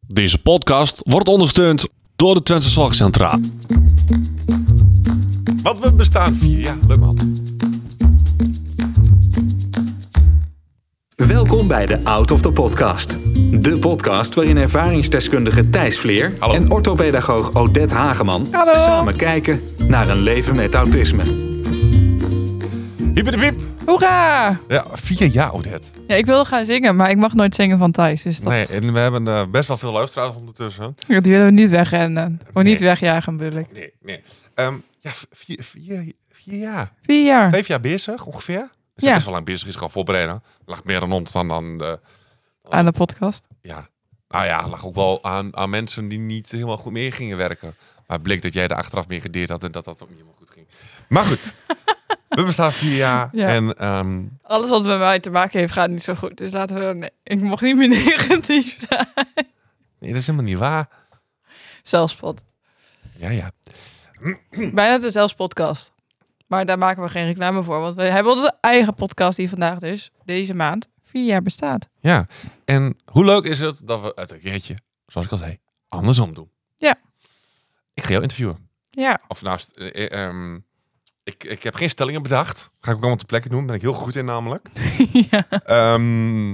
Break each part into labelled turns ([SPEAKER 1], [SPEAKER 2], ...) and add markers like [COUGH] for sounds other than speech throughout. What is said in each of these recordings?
[SPEAKER 1] Deze podcast wordt ondersteund door de Twentse Zorgcentra.
[SPEAKER 2] Want we bestaan vier jaar, leuk man.
[SPEAKER 3] Welkom bij de Out of the Podcast. De podcast waarin ervaringsdeskundige Thijs Vleer
[SPEAKER 2] Hallo.
[SPEAKER 3] en orthopedagoog Odette Hageman samen kijken naar een leven met autisme.
[SPEAKER 2] Hiep de piep.
[SPEAKER 4] Hoera!
[SPEAKER 2] Ja, vier jaar Odette.
[SPEAKER 4] Ja, ik wil gaan zingen, maar ik mag nooit zingen van Thijs. Dus dat,
[SPEAKER 2] Nee, en we hebben eh, best wel veel luisteraars ondertussen.
[SPEAKER 4] dat willen we niet wegrennen. Of niet
[SPEAKER 2] Nee.
[SPEAKER 4] wegjagen, bedoel ik.
[SPEAKER 2] Nee, nee. Ehm, ja, v- vier, vier, vier jaar.
[SPEAKER 4] Vier jaar.
[SPEAKER 2] Vijf jaar bezig ongeveer. We zijn
[SPEAKER 4] Ja.
[SPEAKER 2] best wel lang bezig, is gaan voorbereiden. Lag meer aan ons dan aan... eh,
[SPEAKER 4] Aan de podcast.
[SPEAKER 2] ja. Nou ja, lag ook wel aan, aan mensen die niet helemaal goed mee gingen werken. Maar het bleek dat jij er achteraf mee gedeerd had en dat dat ook niet helemaal goed ging. Maar
[SPEAKER 4] [LAUGHS]
[SPEAKER 2] goed, we bestaan vier jaar.
[SPEAKER 4] Ja.
[SPEAKER 2] En ehm,
[SPEAKER 4] Alles wat met mij te maken heeft gaat niet zo goed. Dus laten we... nee, ik mocht niet meer [LAUGHS] negatief zijn.
[SPEAKER 2] nee, dat is helemaal niet waar.
[SPEAKER 4] Zelfspot.
[SPEAKER 2] Ja, ja.
[SPEAKER 4] Bijna de zelfspodcast. Maar daar maken we geen reclame voor. Want we hebben onze eigen podcast die vandaag dus, deze maand, vier jaar bestaat.
[SPEAKER 2] Ja, en hoe leuk is het dat we het een keertje, zoals ik al zei, andersom doen.
[SPEAKER 4] Ja.
[SPEAKER 2] Ik ga jou interviewen.
[SPEAKER 4] Ja.
[SPEAKER 2] Of naast, eh, eh, ehm, ik, ik heb geen stellingen bedacht. Ga ik ook allemaal ter plekke doen, ben ik heel goed in namelijk.
[SPEAKER 4] [LAUGHS] ja.
[SPEAKER 2] Ehm,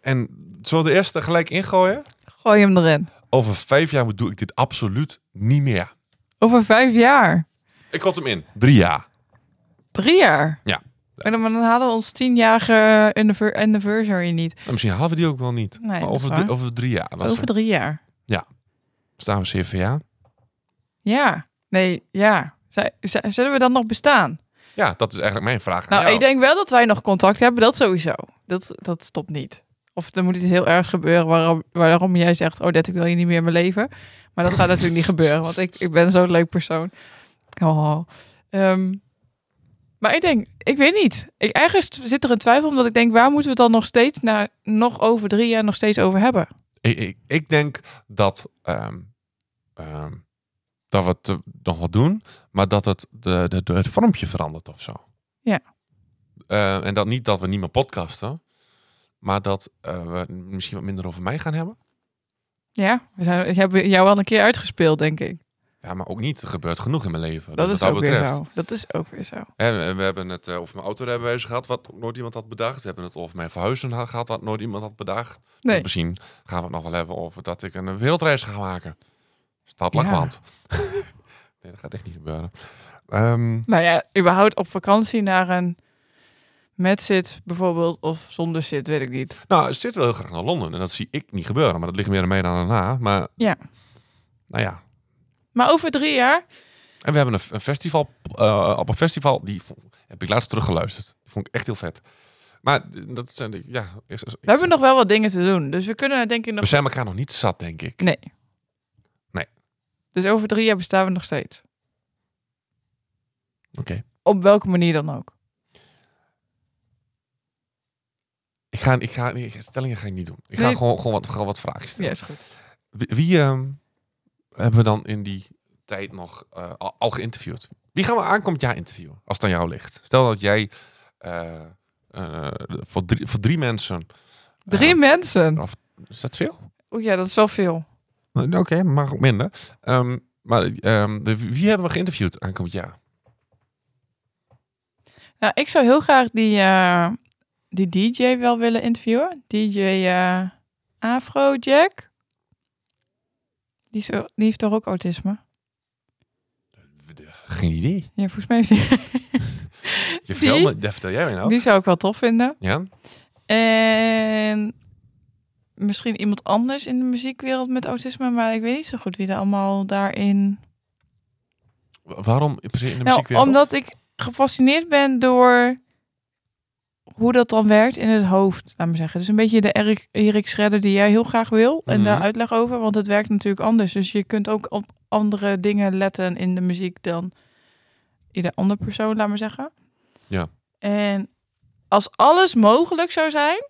[SPEAKER 2] en zullen we de eerste gelijk ingooien?
[SPEAKER 4] Gooi hem erin.
[SPEAKER 2] Over vijf jaar doe ik dit absoluut niet meer.
[SPEAKER 4] Over vijf jaar.
[SPEAKER 2] Ik had hem in. Drie jaar.
[SPEAKER 4] Drie jaar.
[SPEAKER 2] Ja.
[SPEAKER 4] En dan, maar dan hadden we ons tienjarige anniver- anniversary niet.
[SPEAKER 2] Nou, misschien halen we die ook wel niet.
[SPEAKER 4] Nee,
[SPEAKER 2] maar
[SPEAKER 4] dat is
[SPEAKER 2] over, drie-
[SPEAKER 4] waar.
[SPEAKER 2] over drie jaar. Dan
[SPEAKER 4] Over drie jaar.
[SPEAKER 2] staan we CVA.
[SPEAKER 4] Ja. Nee, ja. Z- z- zullen we dan nog bestaan?
[SPEAKER 2] Ja, dat is eigenlijk mijn vraag. aan
[SPEAKER 4] Nou,
[SPEAKER 2] jou.
[SPEAKER 4] ik denk wel dat wij nog contact hebben. Dat sowieso. Dat, dat stopt niet. Of er moet iets heel erg gebeuren waarom, waarom jij zegt... Oh, dat ik wil je niet meer in mijn leven. Maar dat gaat natuurlijk niet gebeuren. Want ik, ik ben zo'n leuk persoon. Oh. Ehm, maar ik denk, ik weet niet. Ik, ergens zit er een twijfel. Omdat ik denk, waar moeten we het dan nog steeds... Na, nog over drie jaar nog steeds over hebben?
[SPEAKER 2] Ik, ik, ik denk dat, ehm, ehm, dat we het eh, nog wat doen, maar dat het, de, de, de- het vormpje verandert of zo.
[SPEAKER 4] Ja.
[SPEAKER 2] Eh, en dat niet dat we niet meer podcasten, maar dat eh, we misschien wat minder over mij gaan hebben.
[SPEAKER 4] Ja, we zijn, ik heb jou al een keer uitgespeeld, denk ik.
[SPEAKER 2] Ja, maar ook niet. Er gebeurt genoeg in mijn leven.
[SPEAKER 4] Dat
[SPEAKER 2] wat
[SPEAKER 4] is ook weer zo. Dat is ook weer zo.
[SPEAKER 2] En eh, we hebben het eh, over mijn autorijbewijs gehad, wat ook nooit iemand had bedacht. We hebben het over mijn verhuizen ha- gehad, wat nooit iemand had bedacht. Dus
[SPEAKER 4] Nee.
[SPEAKER 2] misschien gaan we het nog wel hebben over dat ik een wereldreis ga maken. Stad
[SPEAKER 4] Ja. [LAUGHS]
[SPEAKER 2] Lachland. nee, dat gaat echt niet gebeuren. Ehm,
[SPEAKER 4] Nou ja, überhaupt op vakantie naar een met zit bijvoorbeeld of zonder zit, weet ik niet.
[SPEAKER 2] nou, ik zit wel heel graag naar Londen. En dat zie ik niet gebeuren. Maar dat ligt meer aan mij dan aan haar. Maar
[SPEAKER 4] Ja.
[SPEAKER 2] nou ja.
[SPEAKER 4] Maar over drie jaar,
[SPEAKER 2] En we hebben een, een festival. eh, op een festival, die vo- heb ik laatst teruggeluisterd. Die vond ik echt heel vet. Maar eh, dat zijn de, ja. is- is-
[SPEAKER 4] we hebben nog wel wat dingen te doen. Dus we kunnen denk ik
[SPEAKER 2] we
[SPEAKER 4] nog...
[SPEAKER 2] zijn elkaar nog niet zat, denk ik.
[SPEAKER 4] Nee.
[SPEAKER 2] Nee.
[SPEAKER 4] Dus over drie jaar bestaan we nog steeds.
[SPEAKER 2] Oké.
[SPEAKER 4] Op welke manier dan ook.
[SPEAKER 2] Ik ga, ik ga, nee, stellingen ga ik niet doen. Ik ga
[SPEAKER 4] Nee.
[SPEAKER 2] gewoon, gewoon, wat, gewoon wat vragen stellen.
[SPEAKER 4] Ja, is goed.
[SPEAKER 2] Wie, wie, ehm, hebben we dan in die tijd nog eh, al, al geïnterviewd? Wie gaan we aankomend jaar interviewen, als het aan jou ligt? Stel dat jij eh, eh, voor, drie, voor drie mensen...
[SPEAKER 4] Drie
[SPEAKER 2] eh,
[SPEAKER 4] mensen.
[SPEAKER 2] Is dat veel?
[SPEAKER 4] Oeh ja, dat is wel veel.
[SPEAKER 2] Nou, Oké, maar ook minder. Ehm, maar ehm, de- wie hebben we geïnterviewd aankomend jaar?
[SPEAKER 4] Nou, ik zou heel graag die, eh, die DJ wel willen interviewen. DJ eh Afrojack. Die, is, ook- die heeft toch ook autisme?
[SPEAKER 2] Geen idee.
[SPEAKER 4] Ja, volgens mij heeft die...
[SPEAKER 2] Je vertel,
[SPEAKER 4] Die?
[SPEAKER 2] me, dat vertel jij mij nou.
[SPEAKER 4] Die zou ik wel tof vinden.
[SPEAKER 2] Ja?
[SPEAKER 4] En misschien iemand anders in de muziekwereld met autisme, maar ik weet niet zo goed wie er allemaal daarin.
[SPEAKER 2] Wa- Waarom precies in de
[SPEAKER 4] Nou,
[SPEAKER 2] muziekwereld?
[SPEAKER 4] omdat ik gefascineerd ben door hoe dat dan werkt in het hoofd, laat maar zeggen. Dus een beetje de Erik, Erik Schredder die jij heel graag wil en daar
[SPEAKER 2] Mhm.
[SPEAKER 4] uitleg over, want het werkt natuurlijk anders. Dus je kunt ook op andere dingen letten in de muziek dan ieder ander persoon, laat maar zeggen.
[SPEAKER 2] Ja.
[SPEAKER 4] En als alles mogelijk zou zijn.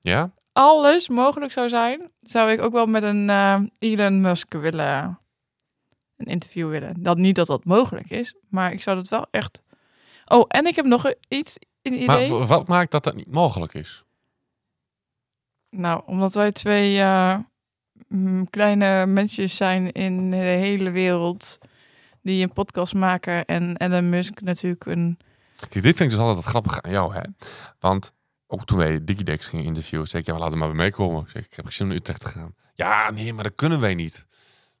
[SPEAKER 2] Ja?
[SPEAKER 4] alles mogelijk zou zijn, zou ik ook wel met een eh, Elon Musk willen een interview willen. Dat niet dat dat mogelijk is, maar ik zou dat wel echt. Oh, en ik heb nog iets in idee.
[SPEAKER 2] Maar wa- wat maakt dat dat niet mogelijk is?
[SPEAKER 4] Nou, omdat wij twee eh, mm, kleine mensjes zijn in de hele wereld die een podcast maken en Elon Musk natuurlijk een... [LAUGHS]
[SPEAKER 2] Kijk, dit vind ik dus altijd het grappige aan jou, hè? Want ook toen wij DigiDex gingen interviewen, zei ik, ja, maar laat hem maar bij mij komen. Ik zeg, ik heb geen zin om naar Utrecht te gaan. Ja, nee, maar dat kunnen wij niet.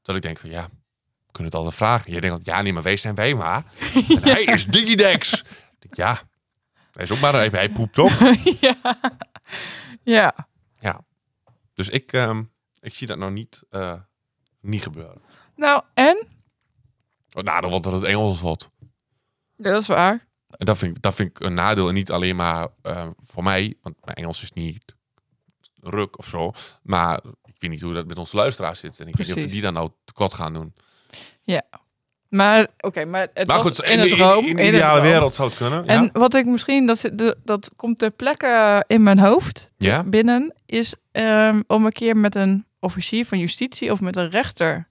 [SPEAKER 2] Dat ik denk van, ja, we kunnen het altijd vragen. Jij denkt altijd, ja, nee, maar wij zijn wij maar. En hij is DigiDex. Ik denk, ja, hij is ook maar, hij, hij poept ook.
[SPEAKER 4] ja. ja,
[SPEAKER 2] Dus ik, ehm, ik zie dat nou niet, eh, niet gebeuren.
[SPEAKER 4] nou en?
[SPEAKER 2] Oh, Nou, dan wordt het het Engels wat.
[SPEAKER 4] Ja, dat is waar.
[SPEAKER 2] En dat vind, ik, dat vind ik een nadeel. En niet alleen maar eh, voor mij, want mijn Engels is niet ruk of zo. Maar ik weet niet hoe dat met onze luisteraars zit. En ik weet niet of
[SPEAKER 4] Precies.
[SPEAKER 2] die dan nou tekort gaan doen.
[SPEAKER 4] Maar oké, maar het
[SPEAKER 2] maar
[SPEAKER 4] was
[SPEAKER 2] goed,
[SPEAKER 4] in, de droom.
[SPEAKER 2] in,
[SPEAKER 4] de
[SPEAKER 2] de ideale
[SPEAKER 4] droom.
[SPEAKER 2] wereld zou het kunnen.
[SPEAKER 4] En
[SPEAKER 2] ja.
[SPEAKER 4] wat ik misschien, dat, zit- de- dat komt ter plekke in mijn hoofd
[SPEAKER 2] Ja?
[SPEAKER 4] binnen, is ehm, om een keer met een officier van justitie of met een rechter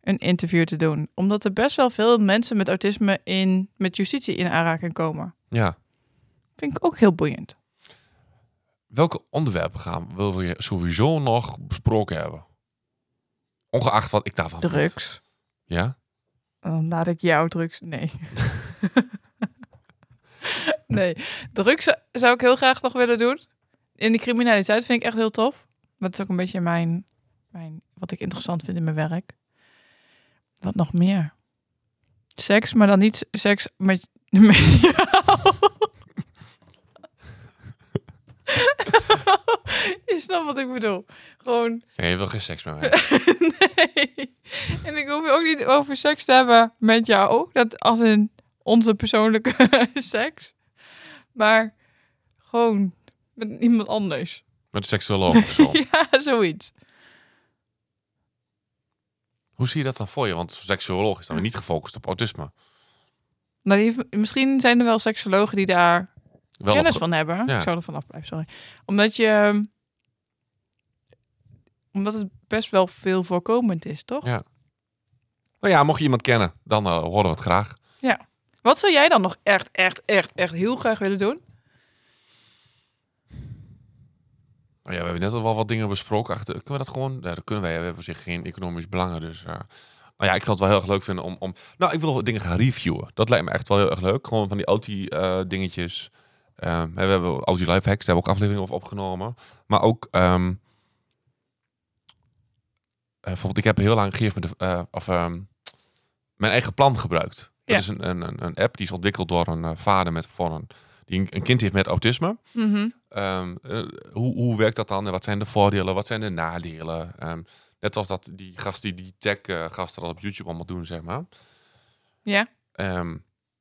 [SPEAKER 4] een interview te doen. Omdat er best wel veel mensen met autisme in, met justitie in aanraking komen.
[SPEAKER 2] ja.
[SPEAKER 4] Vind ik ook heel boeiend.
[SPEAKER 2] Welke onderwerpen gaan wil je sowieso nog besproken hebben? Ongeacht wat ik daarvan vind.
[SPEAKER 4] Drugs.
[SPEAKER 2] Ja?
[SPEAKER 4] Dan Oh, laat ik jou drugs. Nee. nee. Drugs zou- zou ik heel graag nog willen doen. In de criminaliteit vind ik echt heel tof. Maar dat is ook een beetje mijn, mijn wat ik interessant vind in mijn werk. Wat nog meer? Seks, maar dan niet seks met, [LAUGHS] met jou. [LAUGHS] Je snapt wat ik bedoel. Gewoon
[SPEAKER 2] Nee, je wil geen seks met
[SPEAKER 4] [LAUGHS]
[SPEAKER 2] mij.
[SPEAKER 4] nee. En ik hoef ook niet over seks te hebben met jou. Dat als in onze persoonlijke [LAUGHS] seks. Maar gewoon met iemand anders.
[SPEAKER 2] met een seksuoloog of zo.
[SPEAKER 4] [LAUGHS] Ja, zoiets.
[SPEAKER 2] Hoe zie je dat dan voor je? Want zo'n seksuoloog is dan weer niet gefocust op autisme.
[SPEAKER 4] Nou, die heeft- misschien zijn er wel seksologen die daar
[SPEAKER 2] Wel
[SPEAKER 4] kennis
[SPEAKER 2] op-
[SPEAKER 4] van hebben.
[SPEAKER 2] Ja.
[SPEAKER 4] Ik zou er vanaf blijven, sorry. Omdat je... ehm, Omdat het best wel veel voorkomend is, toch?
[SPEAKER 2] Ja. Nou ja, mocht je iemand kennen, dan eh, horen we het graag.
[SPEAKER 4] Wat zou jij dan nog echt, echt, echt, echt heel graag willen doen?
[SPEAKER 2] Nou ja, we hebben net al wel wat dingen besproken. Achter, kunnen we dat gewoon? Ja, dat kunnen wij. We hebben op zich geen economisch belangen. Dus, eh nou ja, ik zou het wel heel erg leuk vinden om, om... Nou, ik wil nog wat dingen gaan reviewen. Dat lijkt me echt wel heel erg leuk. Gewoon van die eh, Audi-dingetjes. Ehm, we hebben Audi Lifehacks, daar hebben we ook afleveringen over opgenomen. Maar ook... ehm, eh, bijvoorbeeld, ik heb heel lang gegeven met de, eh, of, ehm, mijn eigen plan gebruikt.
[SPEAKER 4] Ja.
[SPEAKER 2] Dat is een, een, een- een app die is ontwikkeld door een eh, vader met, voor een, die een, een kind heeft met autisme.
[SPEAKER 4] Mhm.
[SPEAKER 2] Ehm, eh, hoe, hoe werkt dat dan? En wat zijn de voordelen? Wat zijn de nadelen? Ehm, net als dat die gast die die tech eh, gasten dat op YouTube allemaal doen, zeg maar.
[SPEAKER 4] Ja.
[SPEAKER 2] Ehm,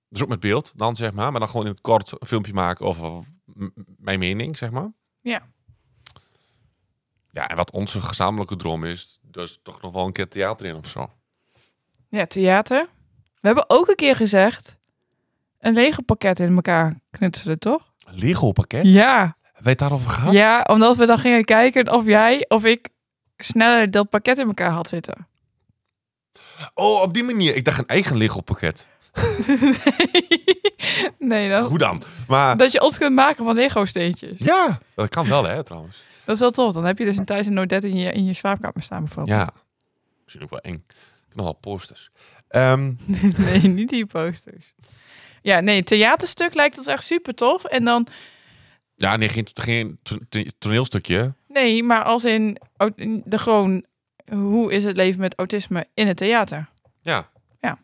[SPEAKER 2] dus ook met beeld dan, zeg maar. Maar dan gewoon in het kort een filmpje maken over m- m- mijn mening, zeg maar.
[SPEAKER 4] Ja.
[SPEAKER 2] Ja, en wat onze gezamenlijke droom is, dus toch nog wel een keer theater in of zo.
[SPEAKER 4] Ja, theater. We hebben ook een keer gezegd een Lego pakket in elkaar knutselen, toch?
[SPEAKER 2] Lego pakket?
[SPEAKER 4] Ja.
[SPEAKER 2] Weet je het daarover gehad?
[SPEAKER 4] Ja, omdat we dan gingen kijken of jij of ik sneller dat pakket in elkaar had zitten. [LAUGHS]
[SPEAKER 2] Oh, op die manier. Ik dacht een eigen Lego pakket.
[SPEAKER 4] nee, dat,
[SPEAKER 2] Hoe dan? Maar
[SPEAKER 4] Oh. dat je ons kunt maken van Lego steentjes.
[SPEAKER 2] ja, dat kan wel hè, trouwens.
[SPEAKER 4] Dat is wel tof. Dan heb je dus een Thijs en Nodet in je, in je slaapkamer staan bijvoorbeeld.
[SPEAKER 2] Ja, misschien ook wel eng. Ik heb nog wel posters. Ehm,
[SPEAKER 4] [LAUGHS] nee, niet die posters. Ja, nee, theaterstuk lijkt ons echt super tof. En dan,
[SPEAKER 2] ja, nee, geen, geen to- to- toneelstukje.
[SPEAKER 4] nee, maar als in au- de gewoon, hoe is het leven met autisme in het theater?
[SPEAKER 2] Ja.
[SPEAKER 4] Ja.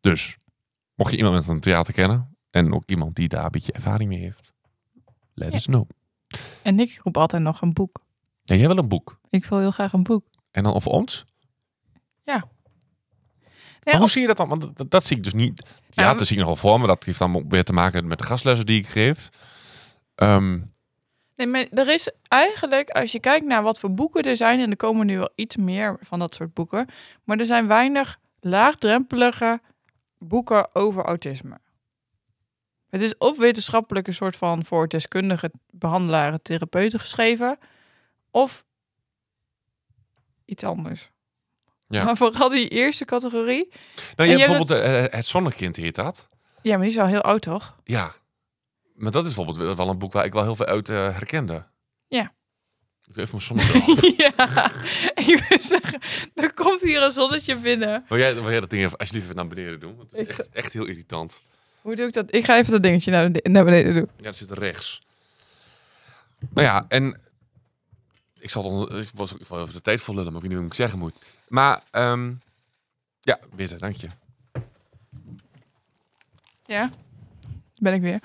[SPEAKER 2] Dus, mocht je iemand met een theater kennen en ook iemand die daar een beetje ervaring mee heeft, let
[SPEAKER 4] Ja.
[SPEAKER 2] us know.
[SPEAKER 4] En ik roep altijd nog een boek.
[SPEAKER 2] Ja, jij wil een boek.
[SPEAKER 4] Ik wil heel graag een boek.
[SPEAKER 2] En dan over ons?
[SPEAKER 4] Nee,
[SPEAKER 2] maar hoe
[SPEAKER 4] als-
[SPEAKER 2] zie je dat dan? Want dat, dat zie ik dus niet. Ja,
[SPEAKER 4] Nou,
[SPEAKER 2] dat zie ik nog wel voor me. Dat heeft dan ook weer te maken met de gastlessen die ik geef. Ehm,
[SPEAKER 4] Nee, maar er is eigenlijk, als je kijkt naar wat voor boeken er zijn, en er komen nu wel iets meer van dat soort boeken, maar er zijn weinig laagdrempelige boeken over autisme. Het is of wetenschappelijke soort van voor deskundigen, behandelaren, therapeuten geschreven, of iets anders.
[SPEAKER 2] Ja.
[SPEAKER 4] Maar vooral die eerste categorie.
[SPEAKER 2] nou, je hebt
[SPEAKER 4] jij
[SPEAKER 2] bijvoorbeeld eh, Het Zonnekind heet dat.
[SPEAKER 4] Ja, maar die is al heel oud, toch?
[SPEAKER 2] Ja, maar dat is bijvoorbeeld wel een boek waar ik wel heel veel uit eh, herkende.
[SPEAKER 4] Ja.
[SPEAKER 2] Ik doe even mijn zonnebril.
[SPEAKER 4] [LAUGHS]
[SPEAKER 2] af.
[SPEAKER 4] ja, ik wil zeggen, er komt hier een zonnetje binnen.
[SPEAKER 2] wil, jij, wil jij dat ding even alsjeblieft even naar beneden doen? Want het
[SPEAKER 4] Ik-
[SPEAKER 2] is echt, echt heel irritant.
[SPEAKER 4] Hoe doe ik dat? Ik ga even dat dingetje naar, de- naar beneden doen.
[SPEAKER 2] Ja, dat zit rechts. Nou ja, en ik zal onder, ik was ik wil even de tijd voor lullen, maar ik weet niet hoe ik zeggen moet. Maar ehm, ja, bitte, dank je.
[SPEAKER 4] Ja, ben ik weer.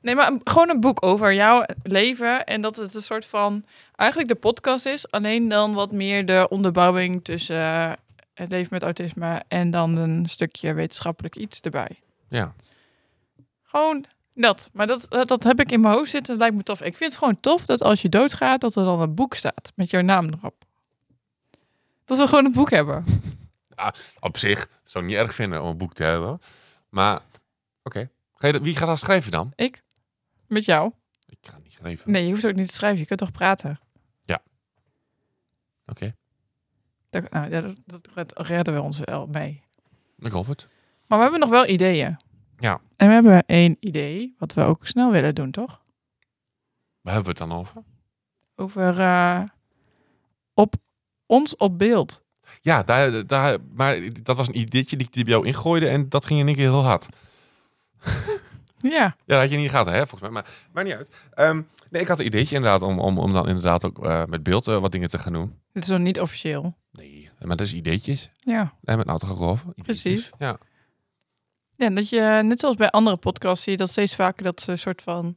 [SPEAKER 4] Nee, maar een- gewoon een boek over jouw leven. En dat het een soort van... Eigenlijk de podcast is. Alleen dan wat meer de onderbouwing tussen eh, het leven met autisme... en dan een stukje wetenschappelijk iets erbij.
[SPEAKER 2] Ja,
[SPEAKER 4] Gewoon dat. Maar dat, dat, dat heb ik in mijn hoofd zitten. Dat lijkt me tof. Ik vind het gewoon tof dat als je doodgaat... dat er dan een boek staat met jouw naam erop. Dat we gewoon een boek hebben.
[SPEAKER 2] op zich zou ik niet erg vinden om een boek te hebben. Maar oké, Ga je dat- wie gaat dat schrijven dan?
[SPEAKER 4] Ik? Met jou?
[SPEAKER 2] Ik ga het niet schrijven.
[SPEAKER 4] Nee, je hoeft ook niet te schrijven. Je kunt toch praten?
[SPEAKER 2] Ja. Oké.
[SPEAKER 4] Dat, nou, ja, dat, dat red- redden we ons wel mee.
[SPEAKER 2] Ik hoop het.
[SPEAKER 4] Maar we hebben nog wel ideeën.
[SPEAKER 2] Ja.
[SPEAKER 4] En we hebben één idee, wat we ook snel willen doen, toch?
[SPEAKER 2] Waar hebben we het dan over?
[SPEAKER 4] Over eh, op, ons op beeld.
[SPEAKER 2] Ja, daar, daar, maar dat was een ideetje die ik die bij jou ingooide en dat ging in één keer heel hard.
[SPEAKER 4] Ja.
[SPEAKER 2] Ja, dat had je niet in de gaten, hè, volgens mij. Maar maakt niet uit. Ehm, nee, ik had een ideetje inderdaad om, om, om dan inderdaad ook eh, met beeld eh, wat dingen te gaan doen.
[SPEAKER 4] Dit is nog niet officieel.
[SPEAKER 2] Nee, eh, maar dat is ideetjes.
[SPEAKER 4] Ja.
[SPEAKER 2] Nee, met nou toch ook over? Ideetjes.
[SPEAKER 4] Precies.
[SPEAKER 2] Ja.
[SPEAKER 4] ja. en Dat je, net zoals bij andere podcasts, zie je dat steeds vaker dat ze een soort van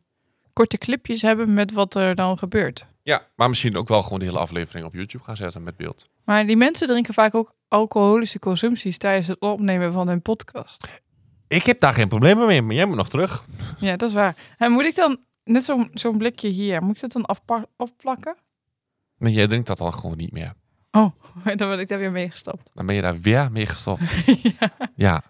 [SPEAKER 4] korte clipjes hebben met wat er dan gebeurt.
[SPEAKER 2] ja, maar misschien ook wel gewoon de hele aflevering op YouTube gaan zetten met beeld.
[SPEAKER 4] Maar die mensen drinken vaak ook alcoholische consumpties tijdens het opnemen van hun podcast.
[SPEAKER 2] Ik heb daar geen problemen mee, maar jij moet nog terug.
[SPEAKER 4] Ja, dat is waar. En moet ik dan net zo'n zo'n blikje hier, moet ik dat dan afpa- afplakken? [LAUGHS]
[SPEAKER 2] Nee, jij drinkt dat dan gewoon niet meer.
[SPEAKER 4] Oh, dan ben ik daar weer
[SPEAKER 2] [LAUGHS]
[SPEAKER 4] meegestapt.
[SPEAKER 2] Dan ben je daar weer mee [LAUGHS] gestopt.
[SPEAKER 4] ja.
[SPEAKER 2] ja.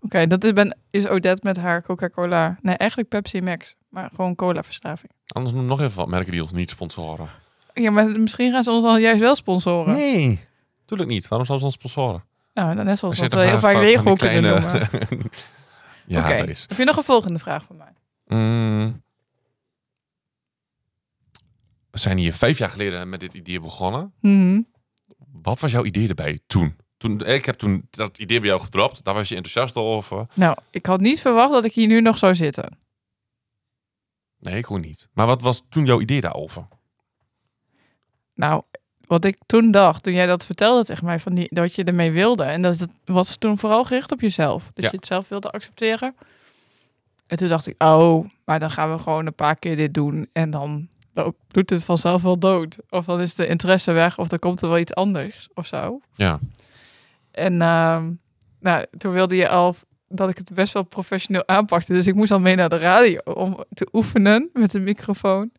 [SPEAKER 4] Oké, dat is, ben, is Odette met haar Coca-Cola. Nee, eigenlijk Pepsi Max, maar gewoon cola-verslaving.
[SPEAKER 2] Anders noem nog even wat merken die ons niet sponsoren.
[SPEAKER 4] Ja, maar misschien gaan ze ons dan juist wel sponsoren.
[SPEAKER 2] Nee. Tuurlijk niet. Waarom zouden ze ons sponsoren?
[SPEAKER 4] Nou, dan net zoals
[SPEAKER 2] Er
[SPEAKER 4] wat
[SPEAKER 2] zitten
[SPEAKER 4] we heel
[SPEAKER 2] maar
[SPEAKER 4] vaak
[SPEAKER 2] van- van die
[SPEAKER 4] Lego kunnen
[SPEAKER 2] kleine-
[SPEAKER 4] noemen.
[SPEAKER 2] [LAUGHS] ja,
[SPEAKER 4] Oké,
[SPEAKER 2] dat is.
[SPEAKER 4] heb je nog een volgende vraag voor mij?
[SPEAKER 2] Mm. We zijn hier vijf jaar geleden met dit idee begonnen.
[SPEAKER 4] Mhm.
[SPEAKER 2] Wat was jouw idee erbij toen? toen ik heb toen dat idee bij jou gedropt. Daar was je enthousiast over.
[SPEAKER 4] Nou, ik had niet verwacht dat ik hier nu nog zou zitten.
[SPEAKER 2] Nee, ik ook niet. Maar wat was toen jouw idee daarover?
[SPEAKER 4] Nou, wat ik toen dacht, toen jij dat vertelde tegen mij, van die, dat je ermee wilde. En dat het, was toen vooral gericht op jezelf. Dat
[SPEAKER 2] Ja.
[SPEAKER 4] je het zelf wilde accepteren. En toen dacht ik, oh, maar dan gaan we gewoon een paar keer dit doen. En dan loopt- doet het vanzelf wel dood. Of dan is de interesse weg, of dan komt er wel iets anders of zo.
[SPEAKER 2] Ja.
[SPEAKER 4] En ehm, nou, toen wilde je al dat ik het best wel professioneel aanpakte. Dus ik moest al mee naar de radio om te oefenen met een microfoon.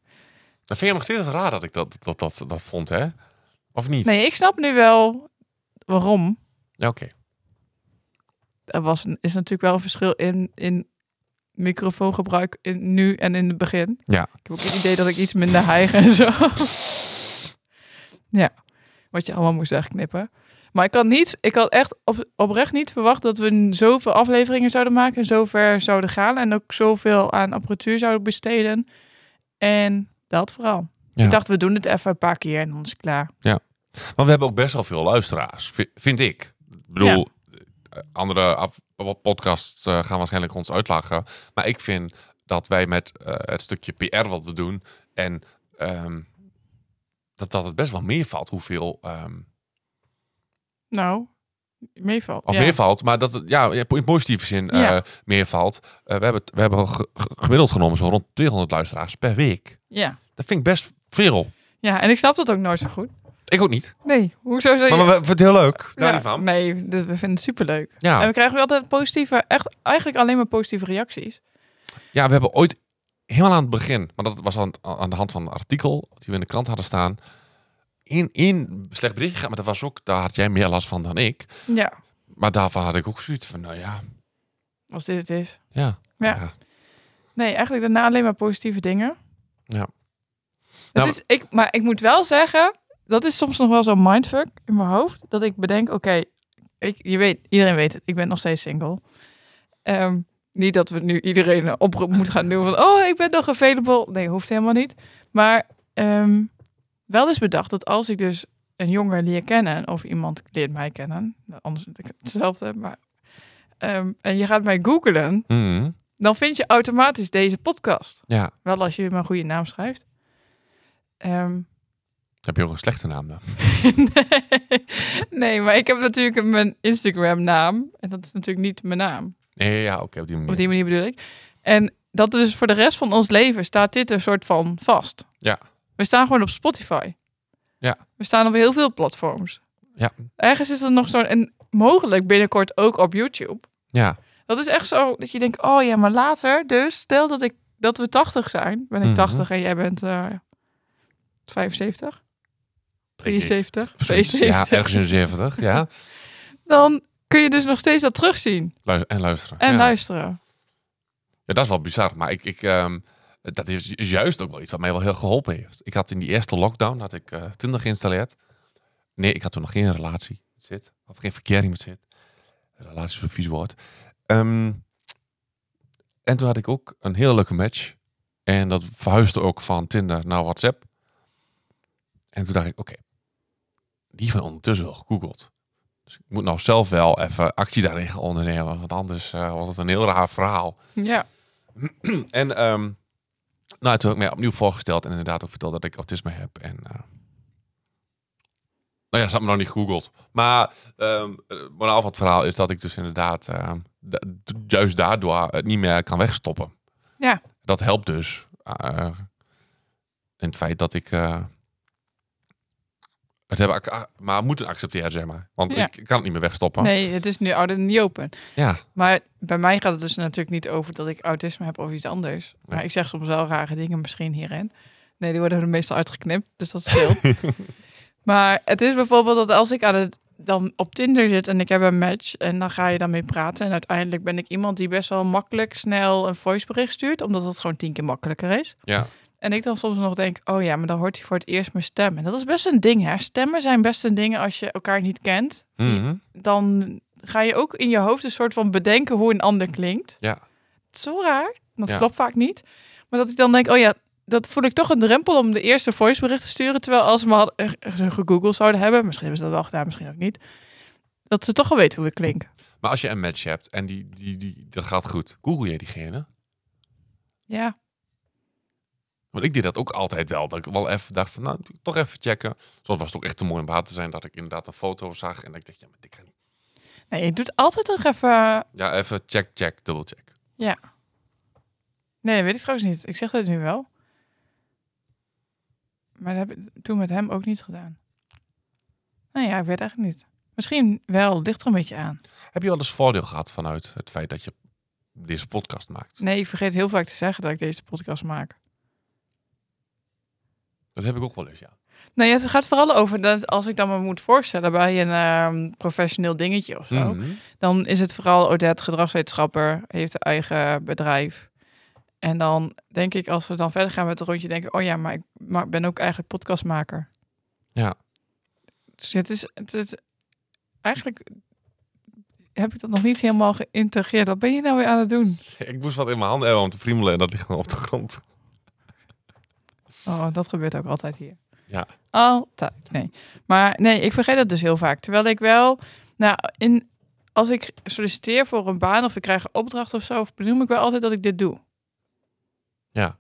[SPEAKER 2] Dan vind je nog steeds raar dat ik dat, dat, dat, dat vond, hè? Of niet?
[SPEAKER 4] Nee, ik snap nu wel waarom.
[SPEAKER 2] Ja, oké.
[SPEAKER 4] er was een, is natuurlijk wel een verschil in, in microfoongebruik in, nu en in het begin.
[SPEAKER 2] Ja.
[SPEAKER 4] Ik heb ook het idee dat ik iets minder hijg en zo. ja, wat je allemaal moest wegknippen. Maar ik had, niet, ik had echt op, oprecht niet verwacht dat we n- zoveel afleveringen zouden maken en zover zouden gaan. En ook zoveel aan apparatuur zouden besteden. En dat vooral.
[SPEAKER 2] Ja.
[SPEAKER 4] Ik dacht, we doen het even een paar keer en dan is het klaar.
[SPEAKER 2] Maar we hebben ook best wel veel luisteraars, vi- vind ik. Ik bedoel, eh, andere af- podcasts eh, gaan waarschijnlijk ons uitlachen. Maar ik vind dat wij met eh, het stukje PR wat we doen... en ehm, dat, dat het best wel meevalt hoeveel... ehm
[SPEAKER 4] Nou, meevalt.
[SPEAKER 2] of
[SPEAKER 4] Ja.
[SPEAKER 2] meevalt, maar dat het ja, in positieve zin eh,
[SPEAKER 4] Ja.
[SPEAKER 2] meervalt. Eh, we hebben, het- we hebben ge- ge- gemiddeld genomen zo rond 200 luisteraars per week.
[SPEAKER 4] Ja.
[SPEAKER 2] Dat vind ik best veel.
[SPEAKER 4] ja, en ik snap dat ook nooit zo goed.
[SPEAKER 2] Ik ook niet.
[SPEAKER 4] Nee, hoezo zou je...
[SPEAKER 2] Maar we vinden het heel leuk. Daar
[SPEAKER 4] Ja,
[SPEAKER 2] niet van.
[SPEAKER 4] Nee, dit, we vinden het superleuk.
[SPEAKER 2] Ja.
[SPEAKER 4] En we krijgen wel altijd positieve, echt eigenlijk alleen maar positieve reacties.
[SPEAKER 2] Ja, we hebben ooit helemaal aan het begin, maar dat was aan, aan de hand van een artikel die we in de krant hadden staan. In, in slecht bericht gegaan, maar dat was ook, daar had jij meer last van dan ik.
[SPEAKER 4] Ja.
[SPEAKER 2] Maar daarvan had ik ook zoiets van, nou ja,
[SPEAKER 4] Als dit het is.
[SPEAKER 2] ja.
[SPEAKER 4] Ja. Nee, eigenlijk daarna alleen maar positieve dingen.
[SPEAKER 2] Ja.
[SPEAKER 4] Dat
[SPEAKER 2] Nou,
[SPEAKER 4] is, ik, maar ik moet wel zeggen, dat is soms nog wel zo'n mindfuck in mijn hoofd. Dat ik bedenk, oké, ik je weet, iedereen weet het, ik ben nog steeds single. Ehm, niet dat we nu iedereen een oproep moeten gaan doen van, oh, ik ben nog available. Nee, hoeft helemaal niet. Maar ehm, wel is bedacht dat als ik dus een jongen leer kennen, of iemand leert mij kennen, nou, anders is het hetzelfde, maar. ehm, en je gaat mij googlen,
[SPEAKER 2] Mhm.
[SPEAKER 4] dan vind je automatisch deze podcast.
[SPEAKER 2] Ja,
[SPEAKER 4] Wel als je mijn goede naam schrijft. Ehm, [LAUGHS]
[SPEAKER 2] heb je ook een slechte naam dan?
[SPEAKER 4] nee. nee, maar ik heb natuurlijk mijn Instagram-naam. En dat is natuurlijk niet mijn naam.
[SPEAKER 2] Nee, ja, oké, op die manier.
[SPEAKER 4] Op die manier bedoel ik. En dat is voor de rest van ons leven staat dit een soort van vast.
[SPEAKER 2] Ja.
[SPEAKER 4] We staan gewoon op Spotify.
[SPEAKER 2] Ja.
[SPEAKER 4] We staan op heel veel platforms.
[SPEAKER 2] Ja.
[SPEAKER 4] Ergens is dat nog zo'n... En mogelijk binnenkort ook op YouTube.
[SPEAKER 2] Ja,
[SPEAKER 4] Dat is echt zo dat je denkt, oh ja, maar later. Dus stel dat, ik, dat we 80 zijn. Ben ik
[SPEAKER 2] Mhm.
[SPEAKER 4] 80 en jij bent eh 75?
[SPEAKER 2] denk ik.
[SPEAKER 4] 73?
[SPEAKER 2] Zoiets. [LAUGHS]
[SPEAKER 4] 72?
[SPEAKER 2] Ja, ergens in de 70. Ja.
[SPEAKER 4] dan kun je dus nog steeds dat terugzien
[SPEAKER 2] Lu- En luisteren.
[SPEAKER 4] en
[SPEAKER 2] ja.
[SPEAKER 4] luisteren.
[SPEAKER 2] Ja, dat is wel bizar. Maar ik, ik, ehm, dat is ju- juist ook wel iets wat mij wel heel geholpen heeft. Ik had in die eerste lockdown had ik, eh, Tinder geïnstalleerd. Nee, ik had toen nog geen relatie met zit. Of geen verkering met zit. Relatie is een vies woord. Ehm, en toen had ik ook een hele leuke match. En dat verhuisde ook van Tinder naar WhatsApp. En toen dacht ik, oké, die van ondertussen wel gegoogeld. Dus ik moet nou zelf wel even actie daarin gaan ondernemen. Want anders eh, was het een heel raar verhaal.
[SPEAKER 4] Ja,
[SPEAKER 2] En ehm, nou, toen heb ik mij opnieuw voorgesteld en inderdaad ook verteld dat ik autisme heb. En, eh, nou ja, ze had me nog niet gegoogeld. Maar ehm eh, moraal van het verhaal is dat ik dus inderdaad ehm, da- d- juist daardoor het niet meer kan wegstoppen.
[SPEAKER 4] Ja.
[SPEAKER 2] Dat helpt dus eh, in het feit dat ik eh, het heb ac- ah, maar moeten accepteren, zeg maar. Want
[SPEAKER 4] Ja.
[SPEAKER 2] ik kan het niet meer wegstoppen.
[SPEAKER 4] nee, het is nu ouder dan niet open.
[SPEAKER 2] Ja,
[SPEAKER 4] Maar bij mij gaat het dus natuurlijk niet over dat ik autisme heb of iets anders. Maar
[SPEAKER 2] Nee.
[SPEAKER 4] ik zeg soms wel rare dingen misschien hierin. Nee, die worden er meestal uitgeknipt, dus dat scheelt. maar het is bijvoorbeeld dat als ik aan het, dan op Tinder zit en ik heb een match en dan ga je dan mee praten. En uiteindelijk ben ik iemand die best wel makkelijk snel een voicebericht stuurt, omdat dat gewoon tien keer makkelijker is.
[SPEAKER 2] ja.
[SPEAKER 4] En ik dan soms nog denk, oh ja, maar dan hoort hij voor het eerst mijn stem. En dat is best een ding, hè. Stemmen zijn best een ding als je elkaar niet kent.
[SPEAKER 2] Mhm.
[SPEAKER 4] Dan ga je ook in je hoofd een soort van bedenken hoe een ander klinkt.
[SPEAKER 2] Ja.
[SPEAKER 4] Het is zo raar. Dat
[SPEAKER 2] Ja.
[SPEAKER 4] klopt vaak niet. Maar dat ik dan denk, oh ja, dat voel ik toch een drempel om de eerste voicebericht te sturen. Terwijl als ze me hadden, eh, eh, gegoogeld zouden hebben, misschien hebben ze dat wel gedaan, misschien ook niet. Dat ze toch al weten hoe ik klink.
[SPEAKER 2] Maar als je een match hebt en die, die, die, dat gaat goed, google je diegene?
[SPEAKER 4] Ja,
[SPEAKER 2] Want ik deed dat ook altijd wel. Dat ik wel even dacht van, nou, toch even checken. Soms was het ook echt te mooi om waar te zijn dat ik inderdaad een foto zag. En dat ik dacht, ja, maar dit kan niet.
[SPEAKER 4] nee, je doet altijd toch even...
[SPEAKER 2] Ja, even check, check, dubbel check.
[SPEAKER 4] Nee, dat weet ik trouwens niet. Ik zeg dat nu wel. Maar dat heb ik toen met hem ook niet gedaan. Nou ja, ik weet eigenlijk niet. Misschien wel, ligt er een beetje aan.
[SPEAKER 2] Heb je wel eens voordeel gehad vanuit het feit dat je deze podcast maakt?
[SPEAKER 4] Nee, ik vergeet heel vaak te zeggen dat ik deze podcast maak.
[SPEAKER 2] Dat heb ik ook wel eens, ja.
[SPEAKER 4] Nee, het gaat vooral over dat als ik dan me moet voorstellen bij een ehm, professioneel dingetje of zo.
[SPEAKER 2] Mhm.
[SPEAKER 4] Dan is het vooral Odette, gedragswetenschapper, heeft een eigen bedrijf. En dan denk ik, als we dan verder gaan met het rondje, denk ik, oh ja, maar ik ma- ben ook eigenlijk podcastmaker.
[SPEAKER 2] Ja.
[SPEAKER 4] Dus het is, het, is- eigenlijk heb ik dat nog niet helemaal geïntegreerd. Wat ben je nou weer aan het doen?
[SPEAKER 2] [LAUGHS] Ik moest wat in mijn handen hebben om te friemelen en dat ligt dan op de grond.
[SPEAKER 4] Oh, dat gebeurt ook altijd hier.
[SPEAKER 2] Ja.
[SPEAKER 4] Altijd, nee. Maar nee, ik vergeet dat dus heel vaak. Terwijl ik wel, nou, in, als ik solliciteer voor een baan of ik krijg een opdracht of zo, benoem ik wel altijd dat ik dit doe.
[SPEAKER 2] Ja.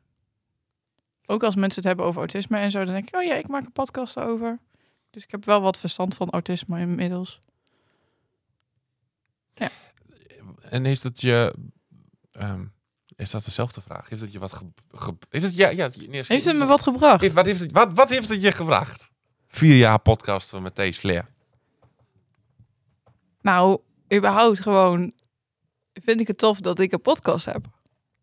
[SPEAKER 4] Ook als mensen het hebben over autisme en zo, dan denk ik, oh ja, ik maak een podcast over. Dus ik heb wel wat verstand van autisme inmiddels.
[SPEAKER 2] En heeft het je... ehm, is dat dezelfde vraag? Heeft het je wat... Ge, ge- heeft het, ja, ja, nee, is-
[SPEAKER 4] Heeft het me wat gebracht?
[SPEAKER 2] Heeft- wat, heeft het, wat, wat heeft het je gebracht? Vier jaar podcasten met Thees Flair.
[SPEAKER 4] Nou, überhaupt gewoon vind ik het tof dat ik een podcast heb.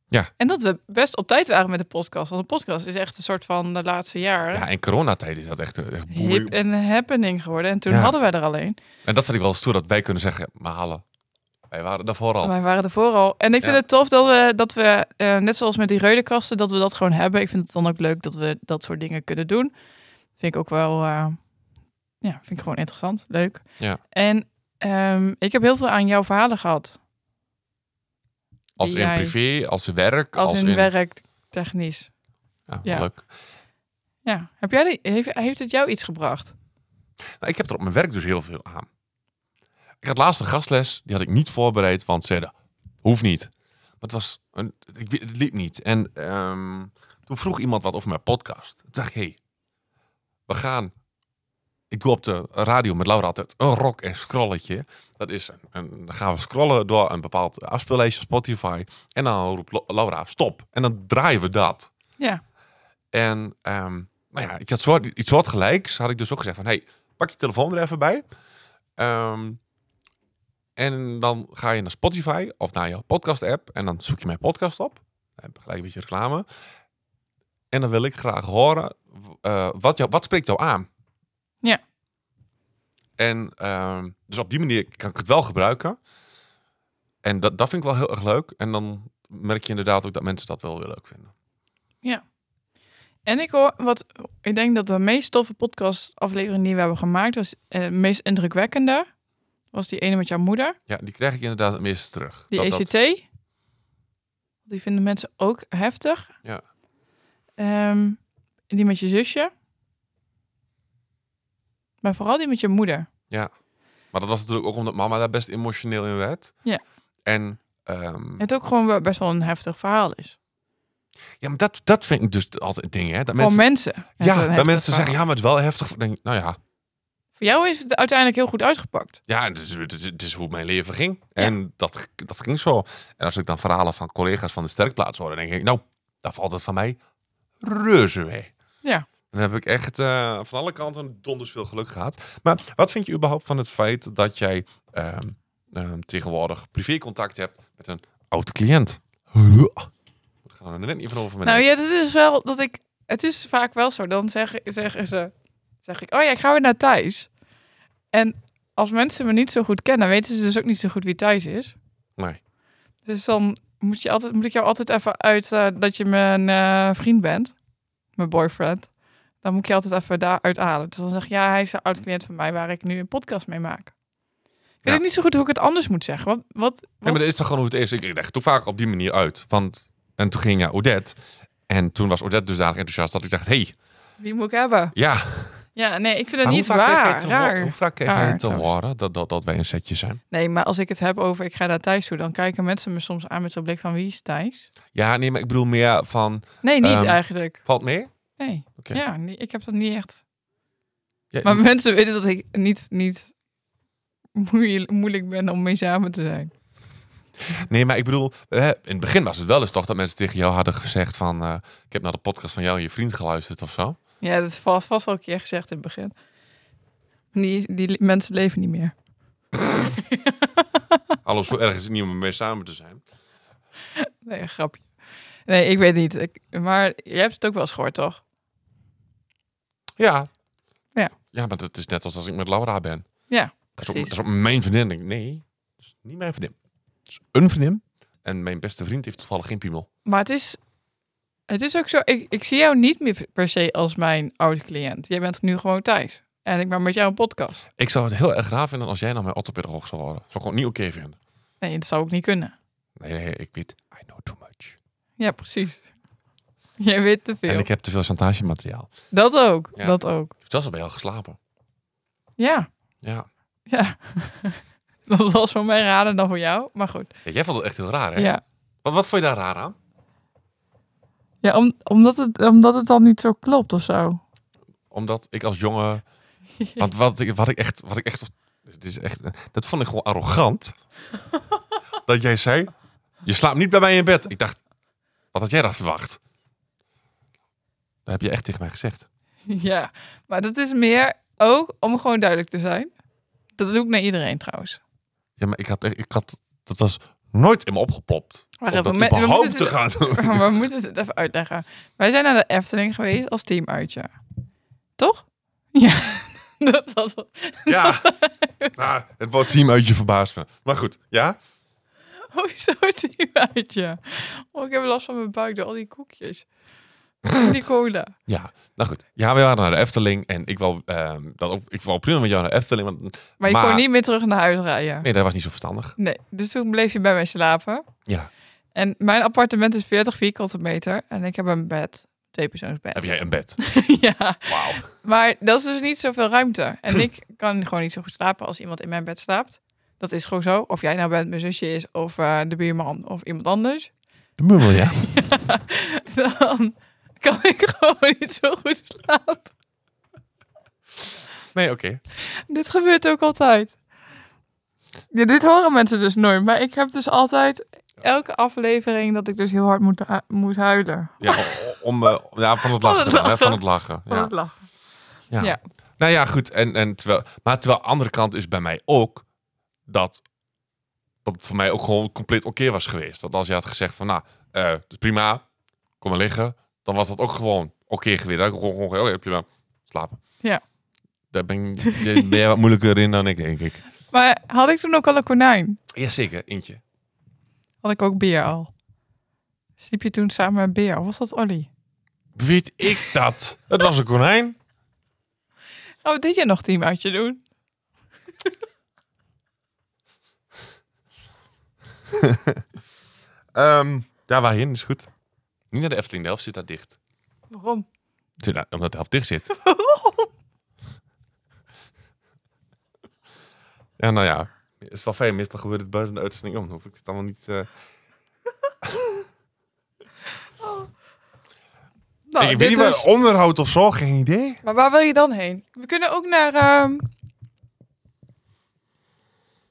[SPEAKER 2] Ja.
[SPEAKER 4] En dat we best op tijd waren met de podcast. Want een podcast is echt een soort van de laatste jaren
[SPEAKER 2] Ja, in coronatijd is dat echt, eh, echt boei-
[SPEAKER 4] hip en happening geworden. En toen
[SPEAKER 2] Ja.
[SPEAKER 4] hadden wij er alleen.
[SPEAKER 2] En dat vind ik wel stoer dat wij kunnen zeggen, maar hallo. Wij waren daarvoor al.
[SPEAKER 4] Wij waren er vooral. En ik vind
[SPEAKER 2] Ja.
[SPEAKER 4] het tof dat we, dat we eh, net zoals met die reudenkasten, dat we dat gewoon hebben. Ik vind het dan ook leuk dat we dat soort dingen kunnen doen. Vind ik ook wel, eh, ja, vind ik gewoon interessant, leuk.
[SPEAKER 2] Ja.
[SPEAKER 4] En ehm, ik heb heel veel aan jouw verhalen gehad.
[SPEAKER 2] Als in
[SPEAKER 4] jij-
[SPEAKER 2] privé, als in werk,
[SPEAKER 4] Als, in, werk, technisch.
[SPEAKER 2] Ja,
[SPEAKER 4] ja.
[SPEAKER 2] leuk.
[SPEAKER 4] Ja. Heb jij die, heeft, heeft het jou iets gebracht?
[SPEAKER 2] Nou, ik heb er op mijn werk dus heel veel aan. Ik had laatst een gastles, die had ik niet voorbereid, want ze zeiden, hoeft niet. Maar het, was een, ik, wi- het liep niet. En ehm, toen vroeg iemand wat over mijn podcast. Toen dacht ik, hey, we gaan... Ik doe op de radio met Laura altijd een rock en scrolletje. Dat is een, een- dan gaan we scrollen door een bepaald afspeellijstje op Spotify. En dan roept Lo- Laura, stop. En dan draaien we dat.
[SPEAKER 4] Ja.
[SPEAKER 2] En ehm, nou ja, ik had soort, iets soortgelijks. Had ik dus ook gezegd van, hey, pak je telefoon er even bij. Ehm, en dan ga je naar Spotify of naar jouw podcast-app. En dan zoek je mijn podcast op. Dan heb ik gelijk een beetje reclame. En dan wil ik graag horen, eh, wat, jou, wat spreekt jou aan?
[SPEAKER 4] Ja.
[SPEAKER 2] En ehm, dus op die manier kan ik het wel gebruiken. En dat, dat vind ik wel heel erg leuk. En dan merk je inderdaad ook dat mensen dat wel heel leuk vinden.
[SPEAKER 4] En ik hoor wat ik denk dat de meest toffe podcastaflevering die we hebben gemaakt was eh, de meest indrukwekkende was die ene met jouw moeder,
[SPEAKER 2] Ja, die krijg ik inderdaad het meeste terug.
[SPEAKER 4] die
[SPEAKER 2] Dat- dat-
[SPEAKER 4] ECT. Die vinden mensen ook heftig.
[SPEAKER 2] Ja.
[SPEAKER 4] Ehm, die met je zusje. Maar vooral die met je moeder.
[SPEAKER 2] Maar dat was natuurlijk ook omdat mama daar best emotioneel in werd.
[SPEAKER 4] Ja.
[SPEAKER 2] En, ehm,
[SPEAKER 4] Het ook gewoon wel best wel een heftig verhaal is.
[SPEAKER 2] ja, maar dat, dat vind ik dus altijd dingen hè. Dat
[SPEAKER 4] Voor
[SPEAKER 2] mensen,
[SPEAKER 4] mensen. Het een
[SPEAKER 2] ja,
[SPEAKER 4] heftig
[SPEAKER 2] dat mensen
[SPEAKER 4] verhaal.
[SPEAKER 2] zeggen, ja, maar het is wel heftig. Dan denk ik, nou ja,
[SPEAKER 4] Voor jou is het uiteindelijk heel goed uitgepakt.
[SPEAKER 2] ja het, is, het is- het is hoe mijn leven ging. En dat, dat ging zo. En als ik dan verhalen van collega's van de sterkplaats hoor, dan denk ik, nou, daar valt het van mij reuze mee.
[SPEAKER 4] Ja.
[SPEAKER 2] Dan heb ik echt eh, van alle kanten donders veel geluk gehad. Maar wat vind je überhaupt van het feit dat jij ehm, ehm, tegenwoordig privécontact hebt met een oud cliënt? We gaan er net niet van over mijn
[SPEAKER 4] Nou
[SPEAKER 2] nek.
[SPEAKER 4] ja, dat is wel dat ik. Het is vaak wel zo. Dan zeggen, zeggen ze. Zeg ik, oh ja, ik ga weer naar Thijs. En als mensen me niet zo goed kennen, weten ze dus ook niet zo goed wie Thijs is.
[SPEAKER 2] Nee.
[SPEAKER 4] Dus dan moet, je altijd, moet ik jou altijd even uit eh, dat je mijn eh, vriend bent. Mijn boyfriend. Dan moet ik je altijd even daaruit halen. Dus dan zeg ik, ja, hij is een oud cliënt van mij waar ik nu een podcast mee maak. Ik weet
[SPEAKER 2] Ja.
[SPEAKER 4] ook niet zo goed hoe ik het anders moet zeggen. Wat, wat,
[SPEAKER 2] Nee,
[SPEAKER 4] wat-
[SPEAKER 2] maar dat is toch gewoon hoe het is. Ik leg het toch vaak op die manier uit. Want, en toen ging ja, Odette. En toen was Odette dusdanig enthousiast dat ik dacht, hey,
[SPEAKER 4] wie moet ik hebben?
[SPEAKER 2] ja.
[SPEAKER 4] Ja, nee, ik vind het
[SPEAKER 2] Maar
[SPEAKER 4] niet
[SPEAKER 2] hoe vaak kreeg jij
[SPEAKER 4] waar.
[SPEAKER 2] te
[SPEAKER 4] raar.
[SPEAKER 2] ho- Hoe vaak kreeg jij
[SPEAKER 4] Raar,
[SPEAKER 2] te
[SPEAKER 4] trouwens.
[SPEAKER 2] horen dat, dat, dat wij een setje zijn?
[SPEAKER 4] Nee, maar als ik het heb over ik ga naar Thijs toe, dan kijken mensen me soms aan met zo'n blik van wie is Thijs?
[SPEAKER 2] Ja, nee, maar ik bedoel meer van,
[SPEAKER 4] Nee, niet
[SPEAKER 2] Ehm,
[SPEAKER 4] eigenlijk.
[SPEAKER 2] valt mee?
[SPEAKER 4] Nee.
[SPEAKER 2] Oké.
[SPEAKER 4] Ja, nee, ik heb dat niet echt.
[SPEAKER 2] Ja,
[SPEAKER 4] Maar mensen weten dat ik niet, niet moeilijk, moeilijk ben om mee samen te zijn.
[SPEAKER 2] Nee, maar ik bedoel, eh, in het begin was het wel eens toch dat mensen tegen jou hadden gezegd van... eh, ik heb naar de podcast van jou en je vriend geluisterd of zo.
[SPEAKER 4] Ja, dat is vast, vast wel een keer gezegd in het begin. Die, die le- mensen leven niet meer.
[SPEAKER 2] [LAUGHS] Alles zo erg is het niet om mee samen te zijn.
[SPEAKER 4] Nee, een grapje. Nee, ik weet niet. Ik- maar jij hebt het ook wel eens gehoord, toch?
[SPEAKER 2] Ja.
[SPEAKER 4] Ja.
[SPEAKER 2] Ja, maar dat is net als als ik met Laura ben.
[SPEAKER 4] Ja,
[SPEAKER 2] Dat is ook,
[SPEAKER 4] precies.
[SPEAKER 2] dat is ook mijn vriendin. Ik denk, Nee, dat is niet mijn vriendin. Dat is een vriendin. En mijn beste vriend heeft toevallig geen piemel.
[SPEAKER 4] Maar het is, het is ook zo. Ik, ik zie jou niet meer per se als mijn oude cliënt. Jij bent nu gewoon Thijs. En ik maak met jou een podcast.
[SPEAKER 2] Ik zou het heel erg raar vinden als jij nou mijn orthopedagoog zou worden. Zou ik gewoon niet oké vinden.
[SPEAKER 4] Nee, dat zou ook niet kunnen.
[SPEAKER 2] Nee, ik weet, I know too much.
[SPEAKER 4] Ja, precies. [LAUGHS] Jij weet te veel.
[SPEAKER 2] En ik heb te veel chantagemateriaal.
[SPEAKER 4] Dat ook.
[SPEAKER 2] Ja.
[SPEAKER 4] Dat ook.
[SPEAKER 2] Ik heb zelfs al bij jou geslapen.
[SPEAKER 4] Ja.
[SPEAKER 2] Ja.
[SPEAKER 4] Ja. [LAUGHS] dat was voor mij raden dan voor jou. Maar goed.
[SPEAKER 2] ja. Jij vond het echt heel raar, hè?
[SPEAKER 4] Ja.
[SPEAKER 2] Wat, wat vond je daar raar aan?
[SPEAKER 4] Ja, om, omdat, het, omdat het dan niet zo klopt of zo. [LAUGHS]
[SPEAKER 2] omdat ik als jongen. Want wat ik, wat ik echt. Wat ik echt, dit is echt dat vond ik gewoon arrogant. dat jij zei: Je slaapt niet bij mij in bed. Ik dacht: Wat had jij dan verwacht? Dat heb je echt tegen mij gezegd.
[SPEAKER 4] ja. Maar dat is meer ook om gewoon duidelijk te zijn. Dat doe ik naar iedereen trouwens.
[SPEAKER 2] Ja, maar ik had. Ik had dat was nooit in me opgeplopt.
[SPEAKER 4] Wacht
[SPEAKER 2] om
[SPEAKER 4] even,
[SPEAKER 2] dat
[SPEAKER 4] me- we
[SPEAKER 2] überhaupt
[SPEAKER 4] moeten
[SPEAKER 2] te
[SPEAKER 4] dit-
[SPEAKER 2] gaan doen.
[SPEAKER 4] [LAUGHS]
[SPEAKER 2] [LAUGHS]
[SPEAKER 4] Maar we moeten het even uitleggen. Wij zijn naar de Efteling geweest als teamuitje. Toch? Ja. [LAUGHS] Dat was wel-
[SPEAKER 2] Ja. Nou, het woord team uit je verbaast me. Maar goed, ja?
[SPEAKER 4] Oh, zo'n teamuitje. Oh, ik heb last van mijn buik door al die koekjes. En die cola.
[SPEAKER 2] Ja, nou goed. Ja, we waren naar de Efteling. En ik wou, ehm dat ook, ik wou prima met jou naar de Efteling. Want,
[SPEAKER 4] Maar je
[SPEAKER 2] Maar-
[SPEAKER 4] kon niet meer terug naar huis rijden.
[SPEAKER 2] nee, dat was niet zo verstandig.
[SPEAKER 4] Nee, dus toen bleef je bij mij slapen.
[SPEAKER 2] Ja.
[SPEAKER 4] En mijn appartement is 40 vierkante meter. En ik heb een bed. tweepersoonsbed. [LAUGHS]
[SPEAKER 2] Heb jij een bed?
[SPEAKER 4] ja,
[SPEAKER 2] Wauw.
[SPEAKER 4] maar dat is dus niet zoveel ruimte. En ik [LAUGHS] kan gewoon niet zo goed slapen als iemand in mijn bed slaapt. Dat is gewoon zo. Of jij nou bent, mijn zusje is, of eh, de buurman, of iemand anders. [LAUGHS]
[SPEAKER 2] De mummel, ja.
[SPEAKER 4] Dan kan ik gewoon [LAUGHS] niet zo goed slapen.
[SPEAKER 2] Nee, oké.
[SPEAKER 4] Dit gebeurt ook altijd. Ja, dit horen mensen dus nooit. Maar ik heb dus altijd elke aflevering dat ik dus heel hard moet, hu- moet huilen.
[SPEAKER 2] Ja, o- om, eh, ja, van het
[SPEAKER 4] Van
[SPEAKER 2] lachen.
[SPEAKER 4] het
[SPEAKER 2] dan, hè,
[SPEAKER 4] lachen.
[SPEAKER 2] Van het lachen.
[SPEAKER 4] Van
[SPEAKER 2] Ja.
[SPEAKER 4] het lachen.
[SPEAKER 2] Ja.
[SPEAKER 4] Ja.
[SPEAKER 2] Nou ja, goed. En, en terwijl, maar terwijl de andere kant is bij mij ook dat dat het voor mij ook gewoon compleet oké was geweest. Dat als je had gezegd van, nou, eh dat is prima, kom maar liggen, dan was dat ook gewoon oké geweest. Dan had ik gewoon, gewoon, oh ja, prima, slapen.
[SPEAKER 4] Ja.
[SPEAKER 2] Daar ben, ik, daar ben jij wat moeilijker in dan ik, denk ik.
[SPEAKER 4] Maar had ik toen ook al een konijn?
[SPEAKER 2] Jazeker, eentje.
[SPEAKER 4] Had ik ook beer al. Sliep je toen samen met beer? Of was dat Olly?
[SPEAKER 2] Weet ik dat? Het was een konijn.
[SPEAKER 4] Oh, wat deed je nog team uitje doen?
[SPEAKER 2] Ehm daar waarheen, is goed. Niet naar de Efteling, de helft zit daar dicht.
[SPEAKER 4] Waarom?
[SPEAKER 2] Zit daar- Omdat de helft dicht zit. [LAUGHS] Ja, nou ja. is wel fijn. Meestal gebeurt het buiten de uitzending om. Dan hoef ik het allemaal niet... eh,
[SPEAKER 4] nou, [LAUGHS]
[SPEAKER 2] ik weet
[SPEAKER 4] dit
[SPEAKER 2] niet waar
[SPEAKER 4] dus.
[SPEAKER 2] onderhoud of zo. Geen idee.
[SPEAKER 4] Maar waar wil je dan heen? We kunnen ook naar... ehm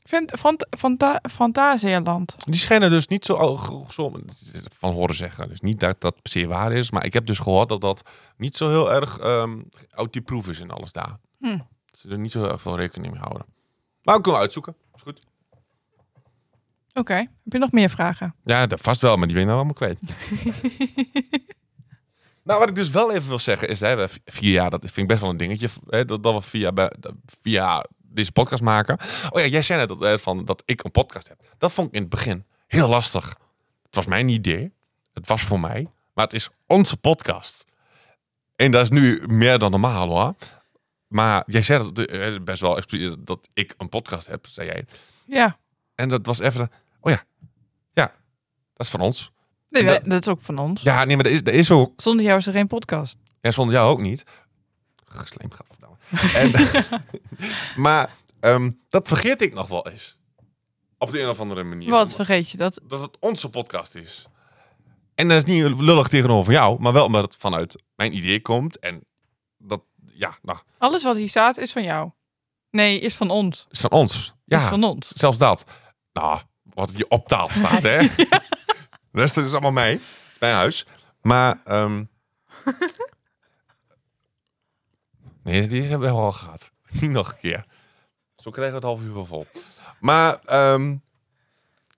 [SPEAKER 4] Vent, Fant- Fanta- Fantasialand.
[SPEAKER 2] Die schijnen dus niet zo... oh, go- zo van horen zeggen. Dus niet dat dat per se waar is. Maar ik heb dus gehoord dat dat niet zo heel erg... ehm outieproof is en alles daar.
[SPEAKER 4] Hm.
[SPEAKER 2] Dat ze er niet zo heel erg veel rekening mee houden. Maar we kunnen uitzoeken. Is goed.
[SPEAKER 4] Oké, heb je nog meer vragen?
[SPEAKER 2] Ja, dat vast wel, maar die ben je nou allemaal kwijt. [LAUGHS] nou, wat ik dus wel even wil zeggen is, hè, we v- vier jaar, dat vind ik best wel een dingetje, v- hè, dat, dat we via, be- dat- via deze podcast maken. Oh ja, jij zei net dat, hè, van, dat ik een podcast heb. Dat vond ik in het begin heel lastig. Het was mijn idee, het was voor mij, maar het is onze podcast. En dat is nu meer dan normaal hoor. Maar jij zei dat eh, best wel expliciet dat ik een podcast heb, zei jij.
[SPEAKER 4] Ja,
[SPEAKER 2] En dat was even, oh ja, ja, dat is van ons.
[SPEAKER 4] nee,
[SPEAKER 2] Dat-
[SPEAKER 4] we- dat is ook van ons.
[SPEAKER 2] Ja, nee, maar dat is, dat is ook.
[SPEAKER 4] Zonder jou is er geen podcast.
[SPEAKER 2] Ja, zonder jou ook niet. Gesleem gaat [LAUGHS] verdamme. En, [LAUGHS] maar ehm, dat vergeet ik nog wel eens. Op de een of andere manier.
[SPEAKER 4] Wat
[SPEAKER 2] Om-
[SPEAKER 4] vergeet je dat?
[SPEAKER 2] Dat het onze podcast is. En dat is niet lullig tegenover jou, maar wel omdat het vanuit mijn idee komt. En dat, ja, nou,
[SPEAKER 4] Alles wat hier staat is van jou. Nee, is van ons.
[SPEAKER 2] is van ons. Ja,
[SPEAKER 4] Is van ons.
[SPEAKER 2] zelfs dat. Nou, wat hier op tafel staat, hè? De rest is allemaal mij. Is mijn huis. Maar, ehm, Nee, die hebben we al gehad. [LAUGHS] Niet nog een keer. Zo krijgen we het half uur wel vol. Maar, ehm,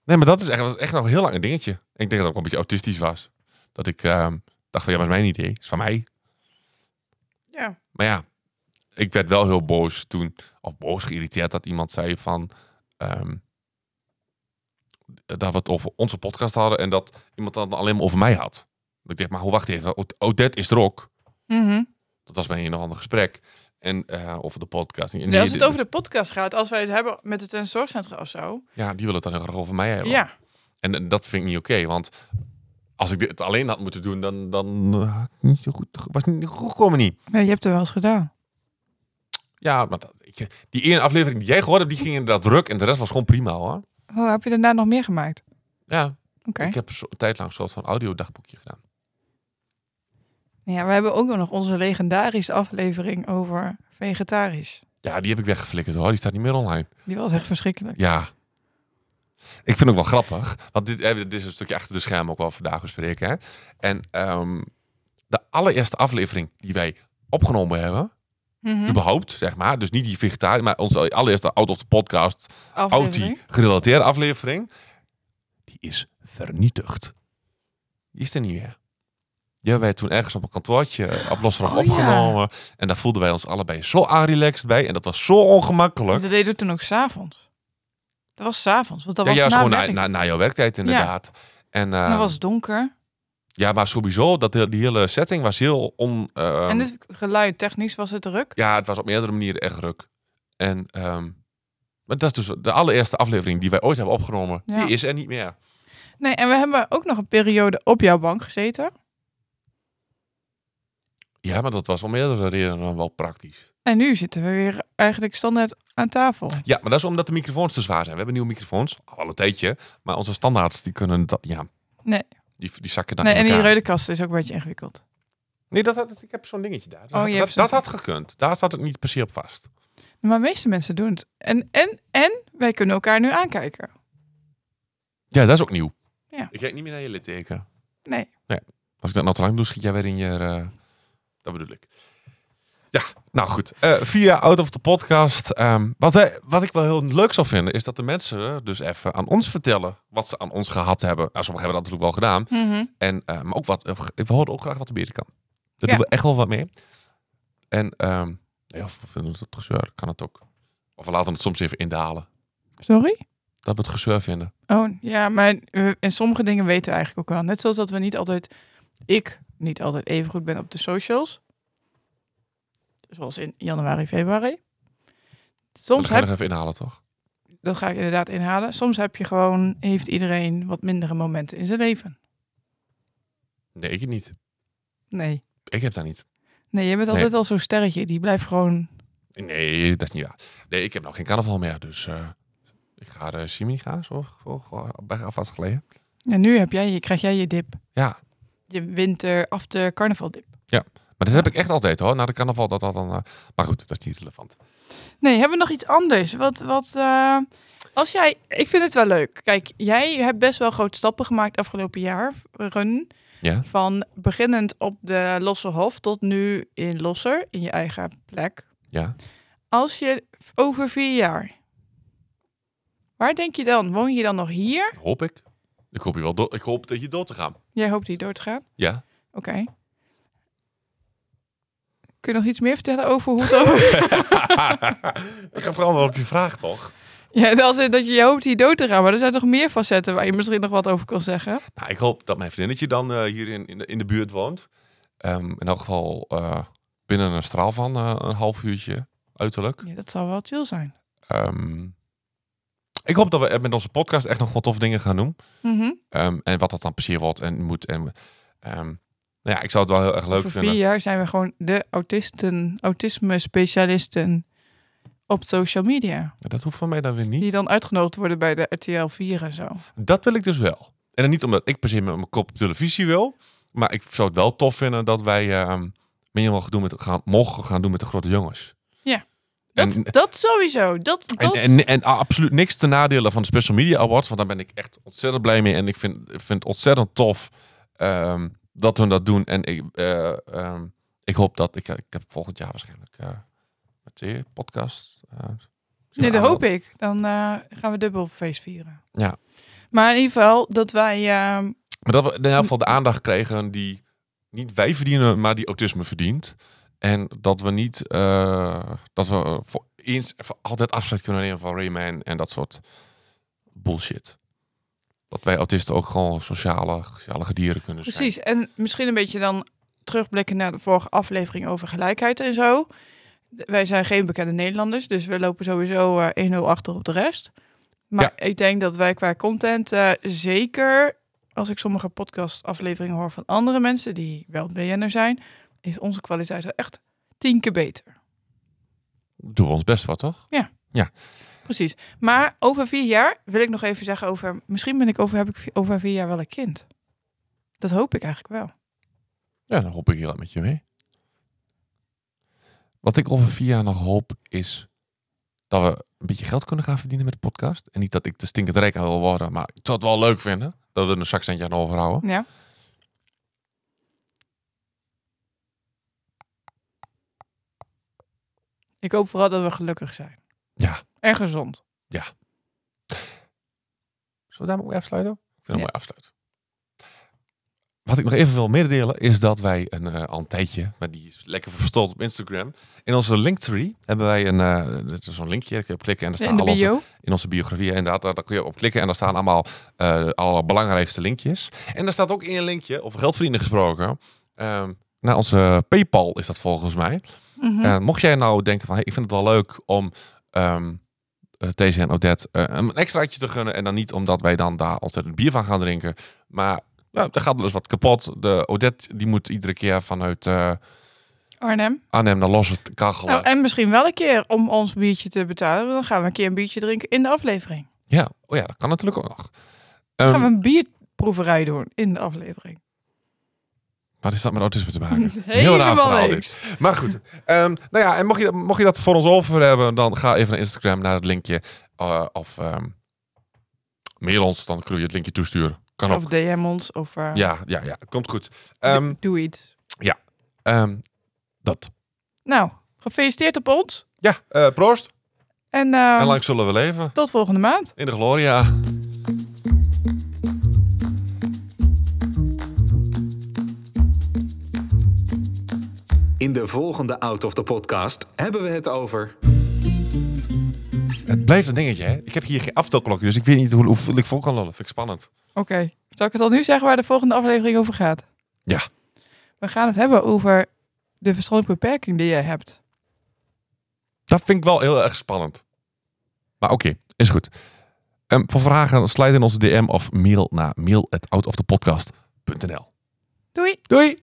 [SPEAKER 2] Nee, maar dat is echt, was echt nog een heel lang een dingetje. Ik denk dat ik ook een beetje autistisch was. Dat ik ehm, dacht van, ja, maar het is mijn idee. Het is van mij.
[SPEAKER 4] Ja.
[SPEAKER 2] Maar ja, ik werd wel heel boos toen, of boos geïrriteerd dat iemand zei van ehm, dat we het over onze podcast hadden en dat iemand dan alleen maar over mij had. Dat Ik dacht, maar hoe wacht even, Od- Odette is er ook.
[SPEAKER 4] Mhm.
[SPEAKER 2] Dat was bij een of ander gesprek. En eh, over de podcast. En
[SPEAKER 4] Ja,
[SPEAKER 2] die-
[SPEAKER 4] als het over de podcast gaat, als wij het hebben met het Twente Zorgcentrum of zo.
[SPEAKER 2] ja, die wil het dan heel graag over mij hebben.
[SPEAKER 4] Ja,
[SPEAKER 2] En eh, dat vind ik niet oké, want als ik dit alleen had moeten doen, dan, dan eh, had ik niet zo goed, was het niet goed gekomen niet.
[SPEAKER 4] nee, je hebt er wel eens gedaan.
[SPEAKER 2] Ja, maar dat- ik, die ene aflevering die jij gehoord hebt, die ging inderdaad druk en de rest was gewoon prima hoor.
[SPEAKER 4] Oh, heb je daarna nog meer gemaakt?
[SPEAKER 2] Ja,
[SPEAKER 4] Oké.
[SPEAKER 2] Ik heb zo- een tijd lang een soort van audiodagboekje gedaan.
[SPEAKER 4] Ja, we hebben ook nog onze legendarische aflevering over vegetarisch.
[SPEAKER 2] Ja, die heb ik weggeflikkerd hoor. Die staat niet meer online.
[SPEAKER 4] Die was echt verschrikkelijk.
[SPEAKER 2] Ja. Ik vind het ook wel grappig. Want dit, eh, dit is een stukje achter de schermen ook wel vandaag bespreken. Hè? En ehm, de allereerste aflevering die wij opgenomen hebben,
[SPEAKER 4] Mhm.
[SPEAKER 2] überhaupt, zeg maar. Dus niet die vegetariër, maar onze allereerste Out of the Podcast,
[SPEAKER 4] Aflevering.
[SPEAKER 2] Audi-gerelateerde aflevering, die is vernietigd. Die is er niet meer. Die hebben wij toen ergens op een kantoortje eh, op losraf
[SPEAKER 4] Oh, ja.
[SPEAKER 2] opgenomen. En daar voelden wij ons allebei zo relaxed bij. En dat was zo ongemakkelijk.
[SPEAKER 4] We deden het toen ook s'avonds. Dat was s'avonds, want dat
[SPEAKER 2] ja,
[SPEAKER 4] was
[SPEAKER 2] juist
[SPEAKER 4] na
[SPEAKER 2] gewoon na,
[SPEAKER 4] werk.
[SPEAKER 2] na, na jouw werktijd inderdaad. En,
[SPEAKER 4] En
[SPEAKER 2] ehm,
[SPEAKER 4] dan was het donker.
[SPEAKER 2] Ja, maar sowieso, dat, die hele setting was heel on... ehm,
[SPEAKER 4] en dus- dit geluid, technisch was het druk.
[SPEAKER 2] Ja, het was op meerdere manieren echt ruk. En ehm, maar dat is dus de allereerste aflevering die wij ooit hebben opgenomen.
[SPEAKER 4] Ja.
[SPEAKER 2] Die is er niet meer.
[SPEAKER 4] Nee, en we hebben ook nog een periode op jouw bank gezeten.
[SPEAKER 2] Ja, maar dat was om meerdere redenen dan wel praktisch.
[SPEAKER 4] En nu zitten we weer eigenlijk standaard aan tafel.
[SPEAKER 2] Ja, maar dat is omdat de microfoons te zwaar zijn. We hebben nieuwe microfoons, al een tijdje. Maar onze standaards, die kunnen dat, ja.
[SPEAKER 4] Nee.
[SPEAKER 2] Die, die zakken dan
[SPEAKER 4] Nee,
[SPEAKER 2] in
[SPEAKER 4] en die
[SPEAKER 2] elkaar.
[SPEAKER 4] reudenkast is ook een beetje ingewikkeld.
[SPEAKER 2] Nee, dat, had- ik heb zo'n dingetje daar. Dat,
[SPEAKER 4] Oh,
[SPEAKER 2] had-
[SPEAKER 4] je hebt
[SPEAKER 2] dat,
[SPEAKER 4] zo'n-
[SPEAKER 2] dat had gekund. Daar staat het niet per se op vast.
[SPEAKER 4] Maar de meeste mensen doen het. En, en, en wij kunnen elkaar nu aankijken.
[SPEAKER 2] Ja, dat is ook nieuw.
[SPEAKER 4] Ja.
[SPEAKER 2] Ik kijk niet meer naar je litteken.
[SPEAKER 4] Nee.
[SPEAKER 2] Als ik dat nou te lang doe, schiet jij weer in je... eh, Dat bedoel ik. Ja, nou goed. Eh, via Out of the Podcast. ehm, wat, wij, wat ik wel heel leuk zou vinden, is dat de mensen dus even aan ons vertellen wat ze aan ons gehad hebben. Nou, sommigen hebben dat natuurlijk wel gedaan.
[SPEAKER 4] Mhm.
[SPEAKER 2] En, eh, maar ook wat, we horen ook graag wat er beter kan. Daar
[SPEAKER 4] Ja.
[SPEAKER 2] doen we echt wel wat mee. En ehm ja, of we vinden het het gezeur, kan het ook. Of we laten het soms even indalen.
[SPEAKER 4] Sorry?
[SPEAKER 2] Dat we het gezeur vinden.
[SPEAKER 4] Oh, ja, maar eh, en sommige dingen weten we eigenlijk ook al. Net zoals dat we niet altijd... Ik niet altijd even goed ben op de socials. Zoals in januari, februari.
[SPEAKER 2] Dat
[SPEAKER 4] Soms
[SPEAKER 2] ga je
[SPEAKER 4] heb...
[SPEAKER 2] nog even inhalen, toch?
[SPEAKER 4] Dat ga ik inderdaad inhalen. Soms heb je gewoon... Heeft iedereen wat mindere momenten in zijn leven.
[SPEAKER 2] Nee, ik niet.
[SPEAKER 4] Nee.
[SPEAKER 2] Ik heb dat niet.
[SPEAKER 4] Nee, je bent
[SPEAKER 2] Nee.
[SPEAKER 4] altijd al zo'n sterretje. Die blijft gewoon...
[SPEAKER 2] Nee, dat is niet waar. Nee, ik heb nog geen carnaval meer. Dus eh, ik ga de Simini gaan, zo, zo, zo, bij alvast geleden.
[SPEAKER 4] En nu heb jij, je, krijg jij je dip.
[SPEAKER 2] Ja,
[SPEAKER 4] Je winter after carnaval dip.
[SPEAKER 2] maar dat heb ik echt altijd hoor. Na de carnaval, dat dat dan... eh, maar goed, dat is niet relevant.
[SPEAKER 4] Nee, hebben we nog iets anders? Wat, wat, eh, als jij, ik vind het wel leuk. Kijk, jij hebt best wel grote stappen gemaakt afgelopen jaar. Run
[SPEAKER 2] Ja?
[SPEAKER 4] van beginnend op de Losse Hof tot nu in Losser, in je eigen plek.
[SPEAKER 2] Ja?
[SPEAKER 4] Als je over vier jaar, waar denk je dan? Woon je dan nog hier?
[SPEAKER 2] Hoop ik. Ik hoop, je wel door, ik hoop dat je door te gaan.
[SPEAKER 4] Jij hoopt hier door te gaan.
[SPEAKER 2] Ja?
[SPEAKER 4] Oké. Kun je nog iets meer vertellen over hoe het over...
[SPEAKER 2] [LAUGHS] ik ga vooral op je vraag, toch?
[SPEAKER 4] ja, als in dat je, je hoopt hier dood te gaan, maar er zijn nog meer facetten waar je misschien nog wat over kan zeggen.
[SPEAKER 2] Nou, ik hoop dat mijn vriendinnetje dan eh, hier in, in, de, in de buurt woont. Ehm, in elk geval eh, binnen een straal van eh, een half uurtje, uiterlijk.
[SPEAKER 4] Ja, dat zal wel chill zijn.
[SPEAKER 2] Ehm, ik hoop dat we eh, met onze podcast echt nog wat toffe dingen gaan doen. Ehm, en wat dat dan plezier wordt en moet. En, ehm, nou ja, ik zou het wel heel erg leuk
[SPEAKER 4] Over vier
[SPEAKER 2] vinden.
[SPEAKER 4] jaar zijn we gewoon de autisten, autisme-specialisten op social media.
[SPEAKER 2] Dat hoeft van mij dan weer niet.
[SPEAKER 4] Die dan uitgenodigd worden bij de RTL 4 en zo.
[SPEAKER 2] Dat wil ik dus wel. En dan niet omdat ik per se met mijn kop op televisie wil. Maar ik zou het wel tof vinden dat wij ehm meer mogen doen, met, gaan, mogen gaan doen met de grote jongens.
[SPEAKER 4] Ja.
[SPEAKER 2] En,
[SPEAKER 4] Dat, dat sowieso. Dat,
[SPEAKER 2] en,
[SPEAKER 4] dat.
[SPEAKER 2] en, en absoluut niks te nadelen van de Special Media Awards. Want daar ben ik echt ontzettend blij mee. En ik vind, ik vind het ontzettend tof ehm, dat hun dat doen. En ik, eh, ehm, ik hoop dat... Ik, ik heb volgend jaar waarschijnlijk eh met de podcast... eh,
[SPEAKER 4] nee, dat
[SPEAKER 2] aanbod.
[SPEAKER 4] hoop ik. Dan eh, gaan we dubbel feest vieren.
[SPEAKER 2] Ja.
[SPEAKER 4] Maar in ieder geval dat wij... ehm,
[SPEAKER 2] Maar dat we in elk geval de aandacht kregen die niet wij verdienen, maar die autisme verdient. En dat we niet, eh, dat we voor eens en voor altijd afscheid kunnen nemen van Rayman en dat soort bullshit. Dat wij autisten ook gewoon sociale, gezellige dieren kunnen zijn.
[SPEAKER 4] Precies, en misschien een beetje dan terugblikken naar de vorige aflevering over gelijkheid en zo. Wij zijn geen bekende Nederlanders, dus we lopen sowieso eh, 1-0 achter op de rest. Maar ik denk dat wij qua content eh, zeker, als ik sommige podcastafleveringen hoor van andere mensen die wel BN'er zijn, is onze kwaliteit wel echt tien keer beter.
[SPEAKER 2] Doen we ons best wat, toch?
[SPEAKER 4] Precies. Maar over vier jaar wil ik nog even zeggen over, misschien ben ik over, heb ik vi- over vier jaar wel een kind. Dat hoop ik eigenlijk wel.
[SPEAKER 2] Ja, dan hoop ik heel erg met je mee. Wat ik over vier jaar nog hoop is dat we een beetje geld kunnen gaan verdienen met de podcast. En niet dat ik de stinkend rijk aan wil worden, maar ik zou het wel leuk vinden dat we er een zakcentje aan overhouden.
[SPEAKER 4] Ja. Ik hoop vooral dat we gelukkig zijn.
[SPEAKER 2] Ja.
[SPEAKER 4] En gezond.
[SPEAKER 2] Zullen we daarmee ook afsluiten? Ik vind het
[SPEAKER 4] Ja.
[SPEAKER 2] mooi afsluiten. Wat ik nog even wil mededelen is dat wij een, eh, al een tijdje, maar die is lekker verstopt op Instagram. In onze linktree hebben wij een, eh, dat is zo'n linkje, daar kun je op klikken en daar
[SPEAKER 4] In
[SPEAKER 2] staan
[SPEAKER 4] de
[SPEAKER 2] al onze
[SPEAKER 4] bio.
[SPEAKER 2] in onze biografie. En daar, daar, daar kun je op klikken en daar staan allemaal eh alle belangrijkste linkjes. En daar staat ook in een linkje, over geldvrienden gesproken, ehm, naar onze PayPal is dat volgens mij.
[SPEAKER 4] Mhm.
[SPEAKER 2] Eh, mocht jij nou denken van, hey, ik vind het wel leuk om ehm eh, These en Odette eh, een extraatje te gunnen. En dan niet omdat wij dan daar ontzettend bier van gaan drinken. Maar ja, er gaat dus wat kapot. De Odette die moet iedere keer vanuit eh,
[SPEAKER 4] Arnhem.
[SPEAKER 2] Arnhem naar Los het kachel.
[SPEAKER 4] Nou,
[SPEAKER 2] uit.
[SPEAKER 4] en misschien wel een keer om ons biertje te betalen. Dan gaan we een keer een biertje drinken in de aflevering.
[SPEAKER 2] Ja, oh ja, dat kan natuurlijk ook nog.
[SPEAKER 4] Dan gaan
[SPEAKER 2] Ehm,
[SPEAKER 4] we een bierproeverij doen in de aflevering.
[SPEAKER 2] Wat is dat met autisme te maken? Heel raar
[SPEAKER 4] Helemaal
[SPEAKER 2] verhaal
[SPEAKER 4] niks.
[SPEAKER 2] Maar goed. Ehm, nou ja, en mocht je, dat- mocht je dat voor ons over hebben, dan ga even naar Instagram, naar het linkje. eh, of ehm, mail ons, dan kun je het linkje toesturen. Kan ook.
[SPEAKER 4] Of DM ons of eh,
[SPEAKER 2] Ja, ja, ja. Komt goed.
[SPEAKER 4] doe-
[SPEAKER 2] Ehm,
[SPEAKER 4] doe iets.
[SPEAKER 2] ehm, dat.
[SPEAKER 4] Nou, gefeliciteerd op ons.
[SPEAKER 2] Ja, eh, proost.
[SPEAKER 4] En, eh,
[SPEAKER 2] En lang zullen we leven.
[SPEAKER 4] tot volgende maand.
[SPEAKER 2] In de gloria.
[SPEAKER 3] In de volgende Out of the Podcast hebben we het over...
[SPEAKER 2] Het blijft een dingetje, hè? Ik heb hier geen aftelklokje, dus ik weet niet hoe, hoeveel ik vol kan lullen. Vind ik spannend.
[SPEAKER 4] Oké. Zal ik het al nu zeggen waar de volgende aflevering over gaat?
[SPEAKER 2] Ja.
[SPEAKER 4] We gaan het hebben over de verstandelijke beperking die jij hebt.
[SPEAKER 2] Dat vind ik wel heel erg spannend. Maar oké, is goed. Ehm, voor vragen sluit in onze DM of mail naar mail.outofthepodcast.nl
[SPEAKER 4] Doei!
[SPEAKER 2] Doei!